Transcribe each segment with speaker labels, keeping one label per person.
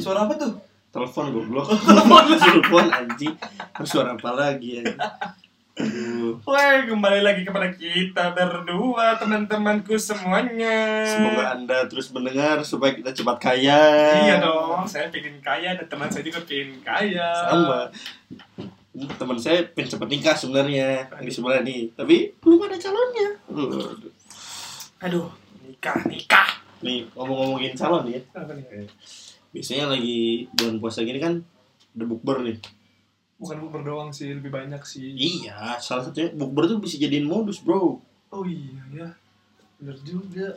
Speaker 1: Suara apa tuh?
Speaker 2: telepon goblok telepon anjing Terus suara apa lagi ya
Speaker 1: Wah, kembali lagi kepada kita berdua teman-temanku semuanya.
Speaker 2: semoga anda terus mendengar supaya kita cepat kaya
Speaker 1: Iya dong, saya pengen kaya dan teman saya juga pengen kaya.
Speaker 2: sama teman saya pengen cepat nikah sebenarnya ini sebenarnya nih tapi belum ada calonnya Loh.
Speaker 1: Aduh, nikah, nikah.
Speaker 2: nih ngomong-ngomongin calon ya
Speaker 1: Apa nih?
Speaker 2: biasanya lagi bulan puasa gini kan ada bukber nih
Speaker 1: Bukan bukber doang sih, lebih banyak sih.
Speaker 2: iya salah satunya bukber tuh bisa jadiin modus bro
Speaker 1: Oh iya ya. Bener juga.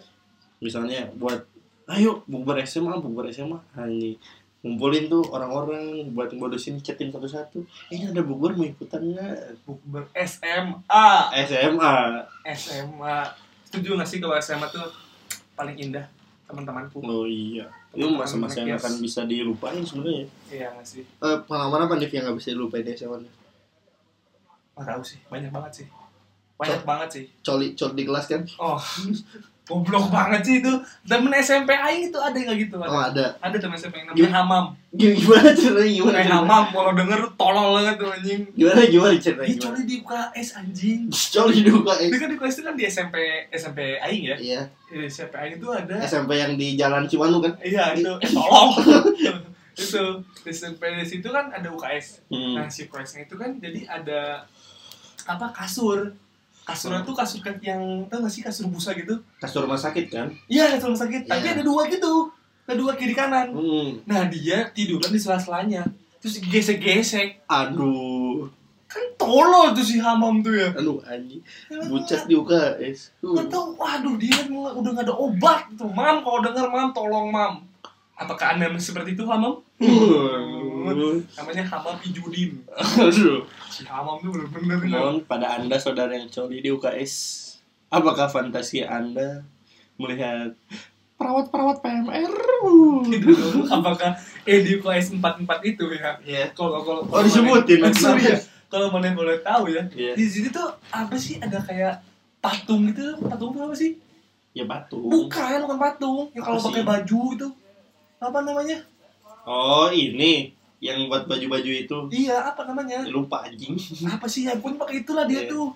Speaker 2: misalnya buat ayo bukber SMA bukber SMA hanya ngumpulin tuh orang-orang buat modusin chatin satu-satu Eh, ini ada bukber mau ikutan nggak
Speaker 1: Bukber SMA.
Speaker 2: SMA
Speaker 1: SMA. Setuju gak sih kalau SMA tuh paling indah teman-temanku?
Speaker 2: oh iya itu masa-masa yang akan bisa dilupain sebenarnya
Speaker 1: Iya gak sih?
Speaker 2: Eh, pengalaman apa nih yang nggak bisa dilupain di SMA nih?
Speaker 1: Gak tahu sih, banyak banget sih. Banyak banget sih.
Speaker 2: coli coli di kelas kan
Speaker 1: Oh, goblok banget sih itu. Temen SMP aing itu ada yang gak gitu?
Speaker 2: oh
Speaker 1: Ada,
Speaker 2: Iya. ada
Speaker 1: ada temen SMP yang namanya
Speaker 2: Gimana?
Speaker 1: Hamam.
Speaker 2: Gim- gimana ceritanya gimana
Speaker 1: Eh
Speaker 2: ceritanya?
Speaker 1: Hamam, kalau denger tuh tolol banget tuh anjing.
Speaker 2: gimana gimana ceritanya
Speaker 1: Dia
Speaker 2: gimana
Speaker 1: coli di UKS anjing.
Speaker 2: coli di UKS
Speaker 1: Dia kan di UKS itu kan di SMP SMP aing ya.
Speaker 2: iya
Speaker 1: Di SMP aing itu ada
Speaker 2: SMP yang di jalan Cimanu kan
Speaker 1: Iya itu, eh tolong Itu, di SMP di situ kan ada UKS
Speaker 2: Hmm.
Speaker 1: Nah si UKS-nya itu kan jadi ada Apa, kasur
Speaker 2: Hmm.
Speaker 1: Kasurnya tuh kasur ke- yang, tau gak sih kasur busa gitu
Speaker 2: kasur rumah sakit kan
Speaker 1: Iya kasur rumah sakit, tapi
Speaker 2: Iya.
Speaker 1: ada dua gitu Ada dua kiri kanan
Speaker 2: hmm.
Speaker 1: Nah dia tiduran di sela-selanya Terus gesek-gesek
Speaker 2: aduh
Speaker 1: Kan tolol tuh si Hamam tuh ya
Speaker 2: Aduh anjing, bucat di UKS. Uh.
Speaker 1: Gak tau, waduh dia mulai- udah gak ada obat tuh Mam kalau denger mam, tolong mam Apakah anda seperti itu Hamam?
Speaker 2: Uh.
Speaker 1: Namanya Hamam Ijudin
Speaker 2: Aduh.
Speaker 1: Si Hamam tuh bener-bener nggak-
Speaker 2: Mohon pada Anda saudara yang coli di UKS, apakah fantasi Anda melihat perawat-perawat PMR? Uh.
Speaker 1: Gitu dong. Apakah eh di UKS 44 itu ya?
Speaker 2: Iya.
Speaker 1: Kalau kalau
Speaker 2: Oh, disebutin,
Speaker 1: mana-
Speaker 2: sorry ya.
Speaker 1: Kalau mana yang boleh tahu ya.
Speaker 2: Iya.
Speaker 1: Di sini tuh apa sih ada kayak patung gitu? Patung itu apa sih?
Speaker 2: Ya batu.
Speaker 1: Bukan, bukan patung. Ya kalau
Speaker 2: Apa sih?
Speaker 1: pakai baju itu apa namanya?
Speaker 2: Oh, ini yang buat baju-baju itu.
Speaker 1: Iya, apa namanya?
Speaker 2: Ya, Lupa anjing.
Speaker 1: Apa sih ya? Pun pakai itulah dia
Speaker 2: Iya.
Speaker 1: tuh.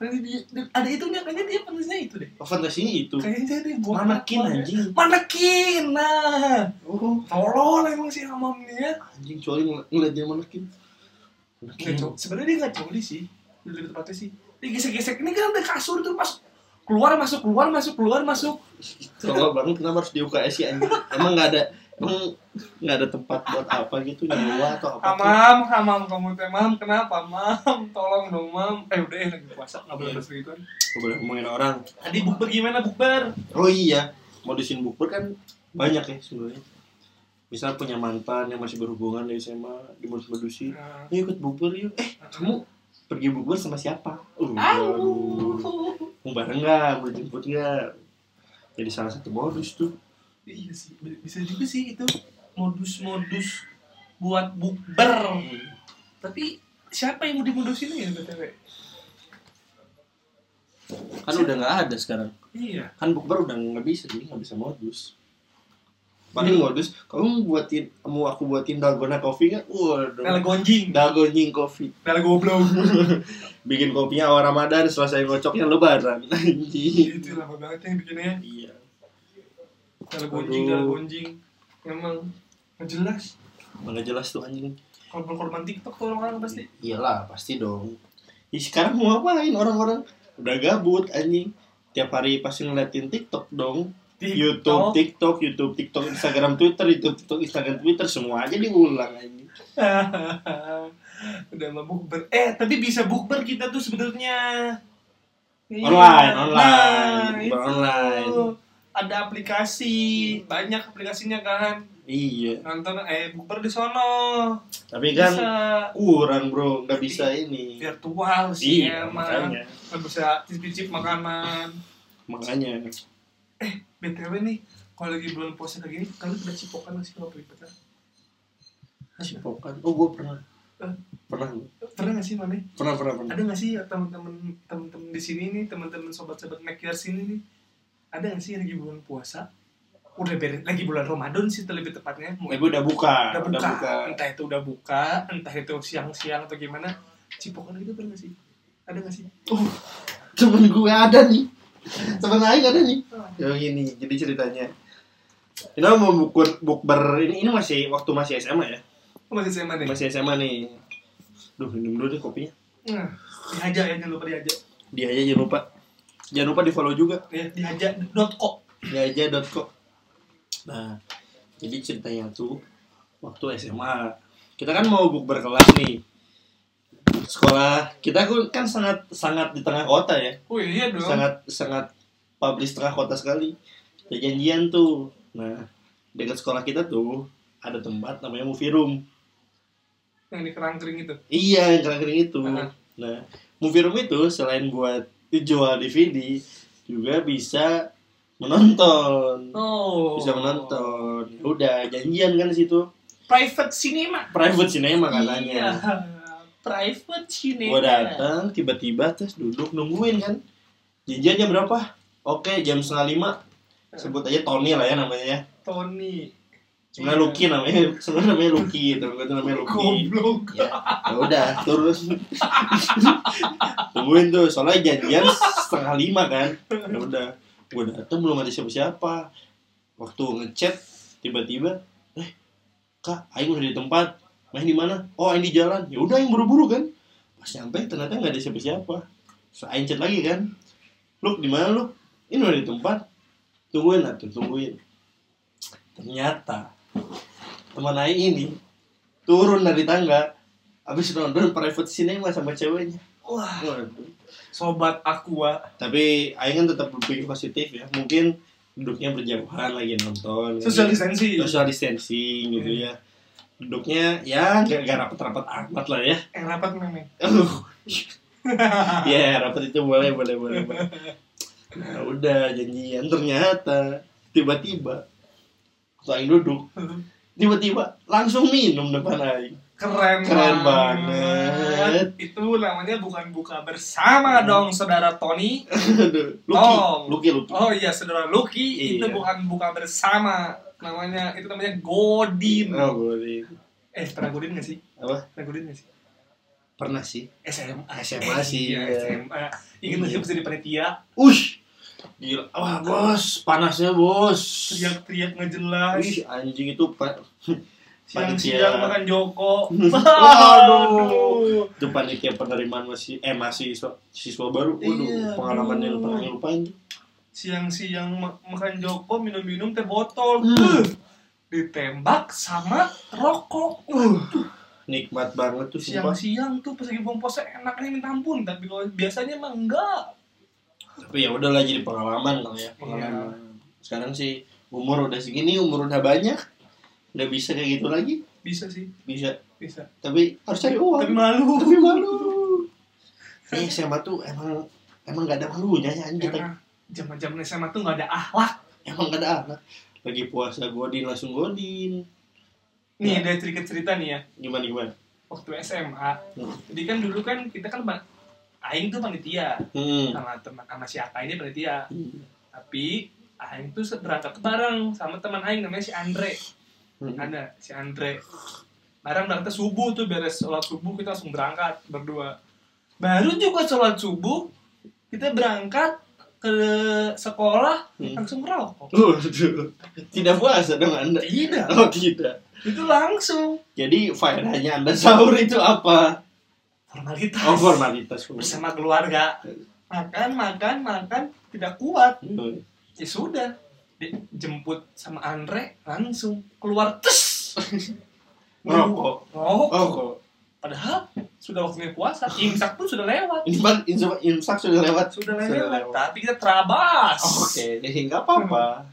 Speaker 1: Nanti dia, dia- ada itunya kayaknya dia penulisnya itu deh.
Speaker 2: Oh, fantasinya itu.
Speaker 1: Kayaknya dia gua
Speaker 2: Manekin anjing.
Speaker 1: Manekin. Nah,
Speaker 2: Oh,
Speaker 1: tolol emang si Amam nih ya.
Speaker 2: anjing coli ngel- ngeliat dia manekin.
Speaker 1: Nggak
Speaker 2: Manekin.
Speaker 1: co- sebenarnya dia nggak coli sih lebih tepatnya sih dia gesek-gesek ini kan ada kasur tuh masuk keluar masuk keluar masuk keluar masuk
Speaker 2: Tolol banget kenapa harus di UKS sih anjing? Emang nggak ada emang nggak ada tempat buat apa gitu nyewa atau apa? tuh?
Speaker 1: hamam hamam kamu teh Ah, mam kenapa mam tolong dong mam eh udah ya lagi puasa nggak boleh
Speaker 2: Iya.
Speaker 1: terus gitu
Speaker 2: Nggak boleh ngomongin orang.
Speaker 1: tadi bukber gimana bukber
Speaker 2: Oh iya, modusin bukber kan banyak ya sebenarnya. Misal punya mantan yang masih berhubungan dari SMA, dimodus modusin.
Speaker 1: Nah,
Speaker 2: Ayo ikut bukber yuk. Eh, kamu pergi bukber sama siapa? Uh,
Speaker 1: Au.
Speaker 2: aduh. Mau bareng nggak? Mau jemput nggak? Jadi salah satu modus tuh.
Speaker 1: iya sih b- bisa juga sih itu modus-modus buat bukber tapi siapa yang mau dimodusin ya btw
Speaker 2: Kan udah nggak ada sekarang.
Speaker 1: iya
Speaker 2: Kan bukber udah nggak bisa, jadi nggak bisa modus. Paling modus, kamu buatin, mau aku buatin dalgona kopi nggak?
Speaker 1: Nela
Speaker 2: Waduh.
Speaker 1: gonjing,
Speaker 2: Dalgoning kopi.
Speaker 1: nela goblok.
Speaker 2: bikin kopinya awal Ramadan selesai ngocoknya lebaran anjing
Speaker 1: Itu lama banget yang bikinnya.
Speaker 2: iya
Speaker 1: Kalau gonjing,
Speaker 2: Aduh.
Speaker 1: kalau gonjing Emang nggak jelas
Speaker 2: mana jelas tuh anjing
Speaker 1: Kalau korban TikTok tuh orang-orang pasti
Speaker 2: iyalah pasti dong Ih, sekarang mau ngapain orang-orang udah gabut anjing tiap hari pasti ngeliatin TikTok dong YouTube TikTok YouTube TikTok Instagram Twitter YouTube TikTok Instagram Twitter semua aja diulang anjing
Speaker 1: Udah mau bukber Eh tapi bisa bukber kita tuh sebenarnya Iya.
Speaker 2: online online
Speaker 1: Nah,
Speaker 2: Bukan
Speaker 1: itu.
Speaker 2: online
Speaker 1: Ada aplikasi Banyak aplikasinya kan
Speaker 2: iya
Speaker 1: Nonton eh bukber di sono
Speaker 2: tapi kan
Speaker 1: Bisa
Speaker 2: kurang bro nggak bisa ini
Speaker 1: Virtual sih
Speaker 2: iya
Speaker 1: emang
Speaker 2: makanya
Speaker 1: Nggak bisa cicip-cicip makanan
Speaker 2: makanya
Speaker 1: BTW nih, kalau lagi bulan puasa kayak gini, kalian udah cipokan gak sih kalau pelipatan?
Speaker 2: cipokan oh gue pernah
Speaker 1: Eh.
Speaker 2: pernah
Speaker 1: Pernah gak sih, Mane?
Speaker 2: pernah pernah pernah
Speaker 1: Ada gak sih ya teman-teman teman-teman di sini nih, teman-teman sobat-sobat Mackiers sini nih? Ada gak sih yang lagi bulan puasa? udah beres lagi bulan Ramadan sih lebih tepatnya
Speaker 2: Ibu Eh, udah buka,
Speaker 1: udah buka. entah itu udah buka entah itu siang-siang atau gimana cipokan gitu pernah nggak sih ada nggak sih
Speaker 2: Uh, temen gue ada nih. Temen lain ada nih. Ya gini, jadi ceritanya. Ini mau bukber, bukber ini, ini masih waktu masih SMA ya?
Speaker 1: oh, masih SMA deh
Speaker 2: Masih SMA nih. Duh, minum dulu deh kopinya.
Speaker 1: nah, dihaja ya jangan lupa dihaja
Speaker 2: Dia aja jangan lupa. Jangan lupa di follow juga.
Speaker 1: ya, dihaja.co
Speaker 2: diaja.co Nah, jadi ceritanya tuh waktu SMA kita kan mau bukber kelas nih sekolah kita kan- kan sangat sangat di tengah kota ya
Speaker 1: oh iya dong
Speaker 2: sangat sangat publish tengah kota sekali Ada janjian tuh nah dekat sekolah kita tuh ada tempat namanya movie room
Speaker 1: yang di kerangkering itu
Speaker 2: iya yang keren-keren itu
Speaker 1: Aha.
Speaker 2: nah movie room itu selain buat jual DVD juga bisa menonton
Speaker 1: oh
Speaker 2: bisa menonton Ya udah janjian kan di situ
Speaker 1: private cinema
Speaker 2: private cinema
Speaker 1: iya
Speaker 2: katanya
Speaker 1: private cinema
Speaker 2: gua datang tiba-tiba terus duduk nungguin kan janjian jam berapa oke jam setengah lima sebut aja Tony lah ya namanya ya
Speaker 1: Tony
Speaker 2: sebenarnya Lucky namanya sebenarnya namanya Lucky temen gue tuh namanya Lucky
Speaker 1: Iya. goblok
Speaker 2: ya ya udah terus tungguin tuh soalnya janjian setengah lima kan ya udah gue datang belum ada siapa-siapa waktu ngechat tiba-tiba eh kak Aing udah di tempat main di mana oh Aing di jalan ya udah Aing buru-buru kan pas nyampe ternyata nggak ada siapa-siapa so, Aing chat lagi kan lu di mana lu ini udah di tempat tungguin atuh tungguin ternyata teman Aing ini turun dari tangga habis nonton private cinema sama ceweknya
Speaker 1: wah
Speaker 2: Waduh.
Speaker 1: sobat aqua
Speaker 2: tapi Aing kan tetap berpikir positif ya mungkin duduknya berjauhan lagi nonton kan.
Speaker 1: social distancing
Speaker 2: social distancing gitu ya duduknya ya nggak nggak rapat-rapat amat lah ya
Speaker 1: yang Eh, rapat memang
Speaker 2: Aduh. ya rapat itu boleh boleh boleh boleh. nah udah janjian ternyata tiba-tiba waktu Aing duduk tiba-tiba langsung minum depan Aing
Speaker 1: keren,
Speaker 2: Keren banget.
Speaker 1: itu namanya bukan buka bersama
Speaker 2: Hmm.
Speaker 1: dong saudara Tony
Speaker 2: Aduh, Lucky,
Speaker 1: Oh.
Speaker 2: Lucky, Lucky.
Speaker 1: oh iya saudara Lucky itu
Speaker 2: Iya.
Speaker 1: bukan buka bersama namanya itu namanya Godin
Speaker 2: Oh, boleh.
Speaker 1: eh pernah Godin gak sih
Speaker 2: Apa?
Speaker 1: pernah Godin gak sih
Speaker 2: Pernah sih.
Speaker 1: SMA
Speaker 2: SMA sih,
Speaker 1: iya,
Speaker 2: iya.
Speaker 1: SMA ingat gak sih
Speaker 2: Iya.
Speaker 1: pas jadi panitia
Speaker 2: Ush. Gila. Wah, bos, panasnya, bos.
Speaker 1: teriak-teriak ngejelas
Speaker 2: Ush, anjing itu pa-
Speaker 1: siang-siang makan Joko
Speaker 2: Waduh. itu panitia penerimaan masih eh masih siswa, siswa baru. Waduh,
Speaker 1: Iya,
Speaker 2: pengalaman yang
Speaker 1: aduh.
Speaker 2: pernah yang lupain.
Speaker 1: siang-siang ma- makan Joko minum-minum teh botol
Speaker 2: Hmm.
Speaker 1: Uh, ditembak sama rokok
Speaker 2: Uh, nikmat banget tuh sumpah.
Speaker 1: siang-siang tuh pas lagi buang puasa enaknya minta ampun tapi kalau biasanya mah enggak
Speaker 2: Tapi ya udahlah jadi pengalaman lah
Speaker 1: Iya.
Speaker 2: ya, pengalaman. Sekarang sih umur udah segini, umur udah banyak. Udah bisa kayak gitu lagi.
Speaker 1: bisa sih
Speaker 2: Bisa.
Speaker 1: bisa
Speaker 2: Tapi harus cari uang.
Speaker 1: tapi malu
Speaker 2: tapi malu eh SMA tuh emang emang gak ada malunya ya anjing kita
Speaker 1: karena zaman-zaman SMA tuh nggak ada akhlak
Speaker 2: emang gak ada anak lagi puasa godin langsung godin Iya.
Speaker 1: nih ada sedikit cerita nih ya
Speaker 2: gimana gimana
Speaker 1: waktu SMA
Speaker 2: Hmm.
Speaker 1: jadi kan dulu kan kita kan ba- Aing tuh panitia
Speaker 2: hmm.
Speaker 1: sama teman sama si Aka ini panitia tapi Aing tuh berangkat bareng sama teman Aing namanya si Andre
Speaker 2: Hmm.
Speaker 1: ada si Andre bareng berangkat subuh tuh beres sholat subuh kita langsung berangkat berdua baru juga sholat subuh kita berangkat ke sekolah
Speaker 2: Hmm.
Speaker 1: langsung ngerokok
Speaker 2: Waduh. tidak puasa dong anda
Speaker 1: tidak
Speaker 2: oh tidak
Speaker 1: itu langsung
Speaker 2: jadi faedahnya anda sahur itu apa
Speaker 1: formalitas
Speaker 2: oh formalitas
Speaker 1: bersama keluarga makan makan makan tidak kuat
Speaker 2: Hmm.
Speaker 1: ya sudah dijemput sama Andre langsung keluar tes
Speaker 2: ngerokok
Speaker 1: Oh,
Speaker 2: oh kok
Speaker 1: padahal sudah waktunya puasa, imsak pun sudah lewat.
Speaker 2: ini kan insa- imsak sudah lewat
Speaker 1: Sudah
Speaker 2: Sudah
Speaker 1: lewat,
Speaker 2: lewat.
Speaker 1: tapi kita terabas.
Speaker 2: oke jadi nggak apa-apa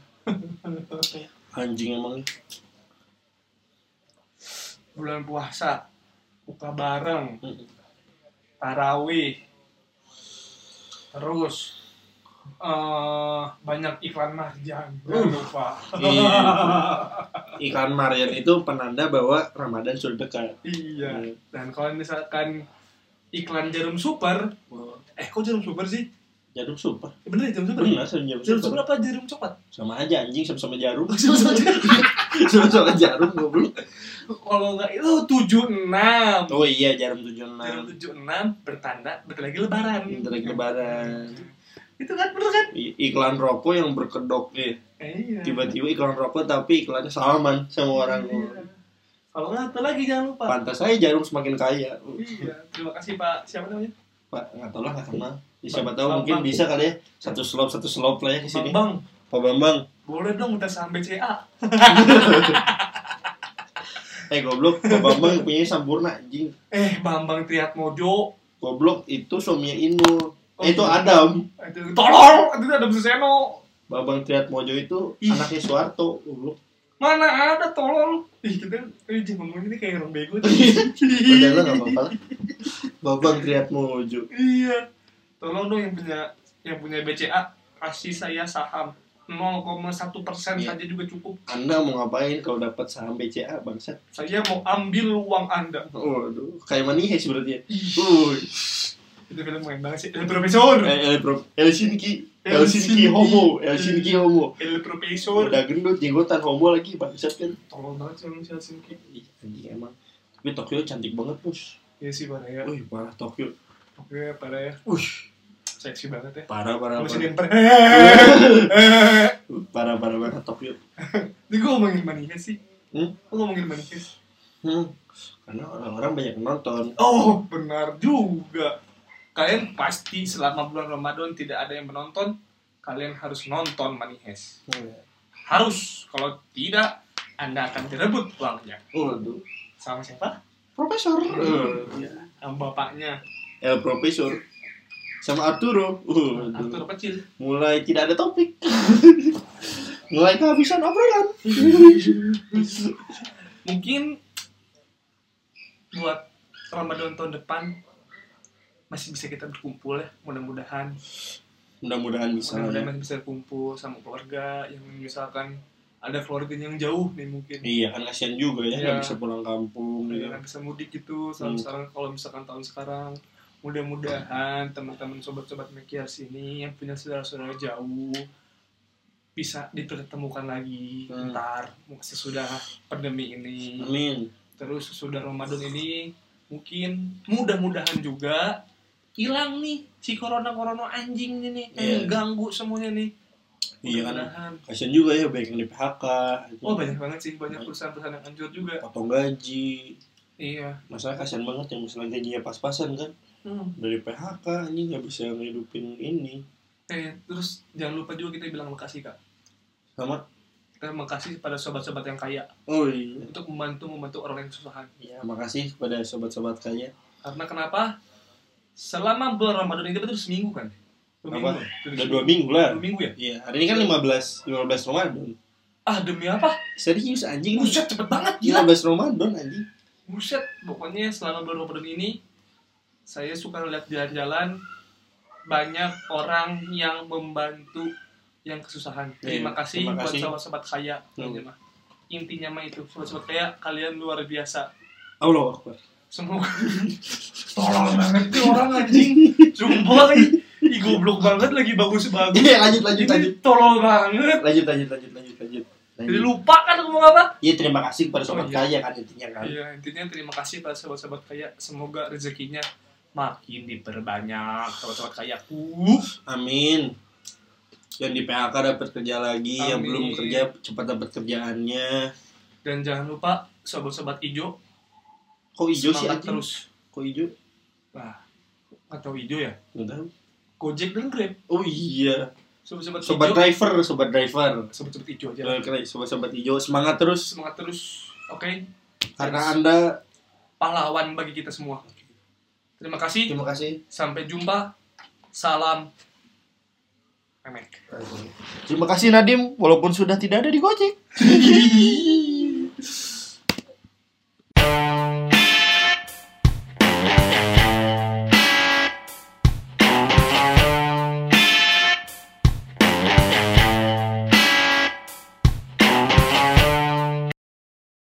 Speaker 2: anjing emang
Speaker 1: Bulan puasa, buka bareng, tarawih, terus eh banyak iklan marjan, jangan lupa.
Speaker 2: Iklan Marian itu penanda bahwa Ramadan sudah dekat.
Speaker 1: iya. Dan kalau misalkan iklan jarum super, eh kok jarum super sih?
Speaker 2: jarum super
Speaker 1: Ya, bener ya jarum super ya?
Speaker 2: benar sama jarum
Speaker 1: jarum
Speaker 2: super
Speaker 1: super apa jarum coklat
Speaker 2: sama aja anjing sama sama jarum
Speaker 1: Sama-sama jarum.
Speaker 2: sama sama kan jarum goblok
Speaker 1: kalau nggak itu tujuh enam
Speaker 2: oh iya jarum tujuh
Speaker 1: jarum
Speaker 2: enam
Speaker 1: tujuh enam bertanda bentar lagi lebaran
Speaker 2: Bentar lagi lebaran.
Speaker 1: itu kan bener kan
Speaker 2: I- iklan rokok yang berkedok ya
Speaker 1: Eh, iya
Speaker 2: tiba-tiba iklan rokok tapi iklannya salaman sama orang
Speaker 1: Iya. kalau nggak satu lagi jangan lupa
Speaker 2: pantas saya jarum semakin kaya
Speaker 1: iya terima kasih pak siapa namanya
Speaker 2: pak nggak tahu lah nggak kenal Ya, siapa
Speaker 1: Bang-
Speaker 2: tahu
Speaker 1: Bang-
Speaker 2: mungkin
Speaker 1: Bang.
Speaker 2: bisa kali ya satu slop satu slop lah ya
Speaker 1: bang
Speaker 2: ke sini
Speaker 1: bang
Speaker 2: Pak Bambang
Speaker 1: boleh dong minta saham BCA
Speaker 2: eh goblok Pak Bambang punya Sampurna anjing
Speaker 1: eh Bambang Triatmojo
Speaker 2: goblok itu suaminya Inul
Speaker 1: Oh,
Speaker 2: eh, itu
Speaker 1: iya.
Speaker 2: Adam
Speaker 1: itu tolong itu ada Suseno
Speaker 2: Babang Triat Mojo itu
Speaker 1: Ih.
Speaker 2: anaknya Suwarto goblok
Speaker 1: Mana ada tolong. Ih, kita eh, jangan ngomongin ini kayak orang bego tuh.
Speaker 2: udah lah nggak apa-apa lah Babang Triat Mojo
Speaker 1: Iya. Tolong dong yang punya yang punya BCA kasih saya saham 0,1 persen
Speaker 2: Iya.
Speaker 1: saja juga cukup.
Speaker 2: anda mau ngapain kalau dapat saham BCA bangsat
Speaker 1: Saya mau ambil uang Anda.
Speaker 2: waduh kayak manis berarti ya uh
Speaker 1: Itu film main banget sih. El Profesor.
Speaker 2: El, El, Pro- Eh, Helsinki Helsinki homo Helsinki homo
Speaker 1: El Profesor.
Speaker 2: udah gendut jenggotan homo lagi bangsat kan
Speaker 1: Tolong banget sih orang Helsinki.
Speaker 2: Ih, anjing emang tapi Tokyo cantik banget bos
Speaker 1: Iya sih parah ya.
Speaker 2: Wih, parah Tokyo
Speaker 1: Oke, parah ya.
Speaker 2: Ush,
Speaker 1: Seksi banget ya.
Speaker 2: parah parah
Speaker 1: Lu
Speaker 2: parah
Speaker 1: sini parah.
Speaker 2: parah parah banget Tokyo
Speaker 1: Ini gue ngomongin manis sih.
Speaker 2: Hmm?
Speaker 1: Gue ngomongin manis.
Speaker 2: Hmm. Karena orang-orang banyak nonton.
Speaker 1: Oh, benar juga. Kalian pasti selama bulan Ramadan tidak ada yang menonton, kalian harus nonton Manihes. Harus. Kalau tidak, Anda akan direbut uangnya.
Speaker 2: Waduh.
Speaker 1: Sama siapa?
Speaker 2: Profesor. Hmm.
Speaker 1: Iya, sama bapaknya.
Speaker 2: El Profesor. Sama Arturo. Waduh.
Speaker 1: Arthur kecil.
Speaker 2: Mulai tidak ada topik. Mulai kehabisan obrolan.
Speaker 1: Mungkin buat Ramadan tahun depan masih bisa kita berkumpul ya, mudah-mudahan.
Speaker 2: Mudah-mudahan bisa. lah
Speaker 1: mudah-mudahan
Speaker 2: ya.
Speaker 1: masih bisa kumpul sama keluarga yang misalkan ada keluarga yang jauh nih mungkin
Speaker 2: Iya kan kasihan juga ya
Speaker 1: Iya.
Speaker 2: nggak bisa pulang kampung.
Speaker 1: Mudah-mudahan
Speaker 2: Ya.
Speaker 1: bisa mudik gitu sekarang,
Speaker 2: Hmm.
Speaker 1: sekarang kalau misalkan tahun sekarang mudah-mudahan teman-teman sobat-sobat mekiar sini yang punya saudara-saudara jauh bisa dipertemukan lagi
Speaker 2: Hmm.
Speaker 1: ntar sesudah pandemi ini
Speaker 2: Amin.
Speaker 1: terus sesudah Ramadan ini mungkin mudah-mudahan juga hilang nih si corona-corona anjing ini nih yang
Speaker 2: Iya.
Speaker 1: ganggu semuanya nih
Speaker 2: Iya kan.
Speaker 1: mudah-mudahan
Speaker 2: Kasihan juga ya banyak yang di PHK.
Speaker 1: Oh banyak banget sih, banyak perusahaan-perusahaan yang hancur juga.
Speaker 2: gitu. Potong gaji.
Speaker 1: Iya.
Speaker 2: Masalah kasihan banget yang misalnya gajinya pas-pasan kan
Speaker 1: Hmm.
Speaker 2: dari PHK ini nggak bisa ngidupin ini
Speaker 1: Eh, terus jangan lupa juga kita bilang makasih kak.
Speaker 2: sama
Speaker 1: Kita makasih pada sobat-sobat yang kaya
Speaker 2: oh iya
Speaker 1: untuk membantu membantu orang yang kesusahan.
Speaker 2: Ya, makasih kepada sobat-sobat kalian.
Speaker 1: Karena kenapa? Selama bulan Ramadan ini betul seminggu kan? Dua
Speaker 2: Apa?
Speaker 1: minggu.
Speaker 2: Udah dua minggu lah.
Speaker 1: Dua minggu ya?
Speaker 2: Iya, hari ini kan 15, 15 Ramadan.
Speaker 1: Ah demi apa?
Speaker 2: Serius anjing nih.
Speaker 1: Buset cepet banget gila.
Speaker 2: 15 Ramadan anjing.
Speaker 1: Buset, pokoknya selama bulan Ramadan ini saya suka lihat jalan-jalan banyak orang yang membantu yang kesusahan.
Speaker 2: Iya,
Speaker 1: Terima kasih,
Speaker 2: terima kasih.
Speaker 1: buat sobat-sobat kaya.
Speaker 2: Hmm.
Speaker 1: Intinya mah- Intinya mah itu, sobat-sobat kaya kalian luar biasa.
Speaker 2: Allah Akbar.
Speaker 1: Semoga tolong banget nih orang anjing. Sumpah ih, ih goblok banget lagi bagus-bagus.
Speaker 2: Iya, lanjut lanjut
Speaker 1: Ini
Speaker 2: lanjut.
Speaker 1: tolong banget.
Speaker 2: Lanjut lanjut lanjut lanjut lanjut.
Speaker 1: Jadi
Speaker 2: Lanjut.
Speaker 1: lupa kan aku mau apa?
Speaker 2: Iya, terima kasih kepada sobat
Speaker 1: Oh, iya.
Speaker 2: kaya kan intinya kan.
Speaker 1: Iya, intinya terima kasih pada sobat-sobat kaya. Semoga rezekinya makin diperbanyak sobat-sobat kayaku.
Speaker 2: Amin. Yang di PHK dapat kerja lagi, yang
Speaker 1: Amin.
Speaker 2: belum kerja cepat dapat kerjaannya.
Speaker 1: Dan jangan lupa sobat-sobat ijo
Speaker 2: Kok hijau sih
Speaker 1: semangat
Speaker 2: anjing?
Speaker 1: terus.
Speaker 2: Kok hijau?
Speaker 1: Nah, atau ijo ya?
Speaker 2: Nggak tahu.
Speaker 1: Gojek dan Grab.
Speaker 2: Oh iya,
Speaker 1: Sobat-sobat
Speaker 2: sobat
Speaker 1: ijo.
Speaker 2: driver, sobat driver.
Speaker 1: Sobat-sobat ijo aja.
Speaker 2: Sobat-sobat hijau semangat terus
Speaker 1: Semangat terus. Oke,
Speaker 2: karena Anda
Speaker 1: pahlawan bagi kita semua. Terima kasih.
Speaker 2: terima kasih.
Speaker 1: Sampai jumpa. Salam. Memek.
Speaker 2: Terima kasih Nadim, walaupun sudah tidak ada di Gojek.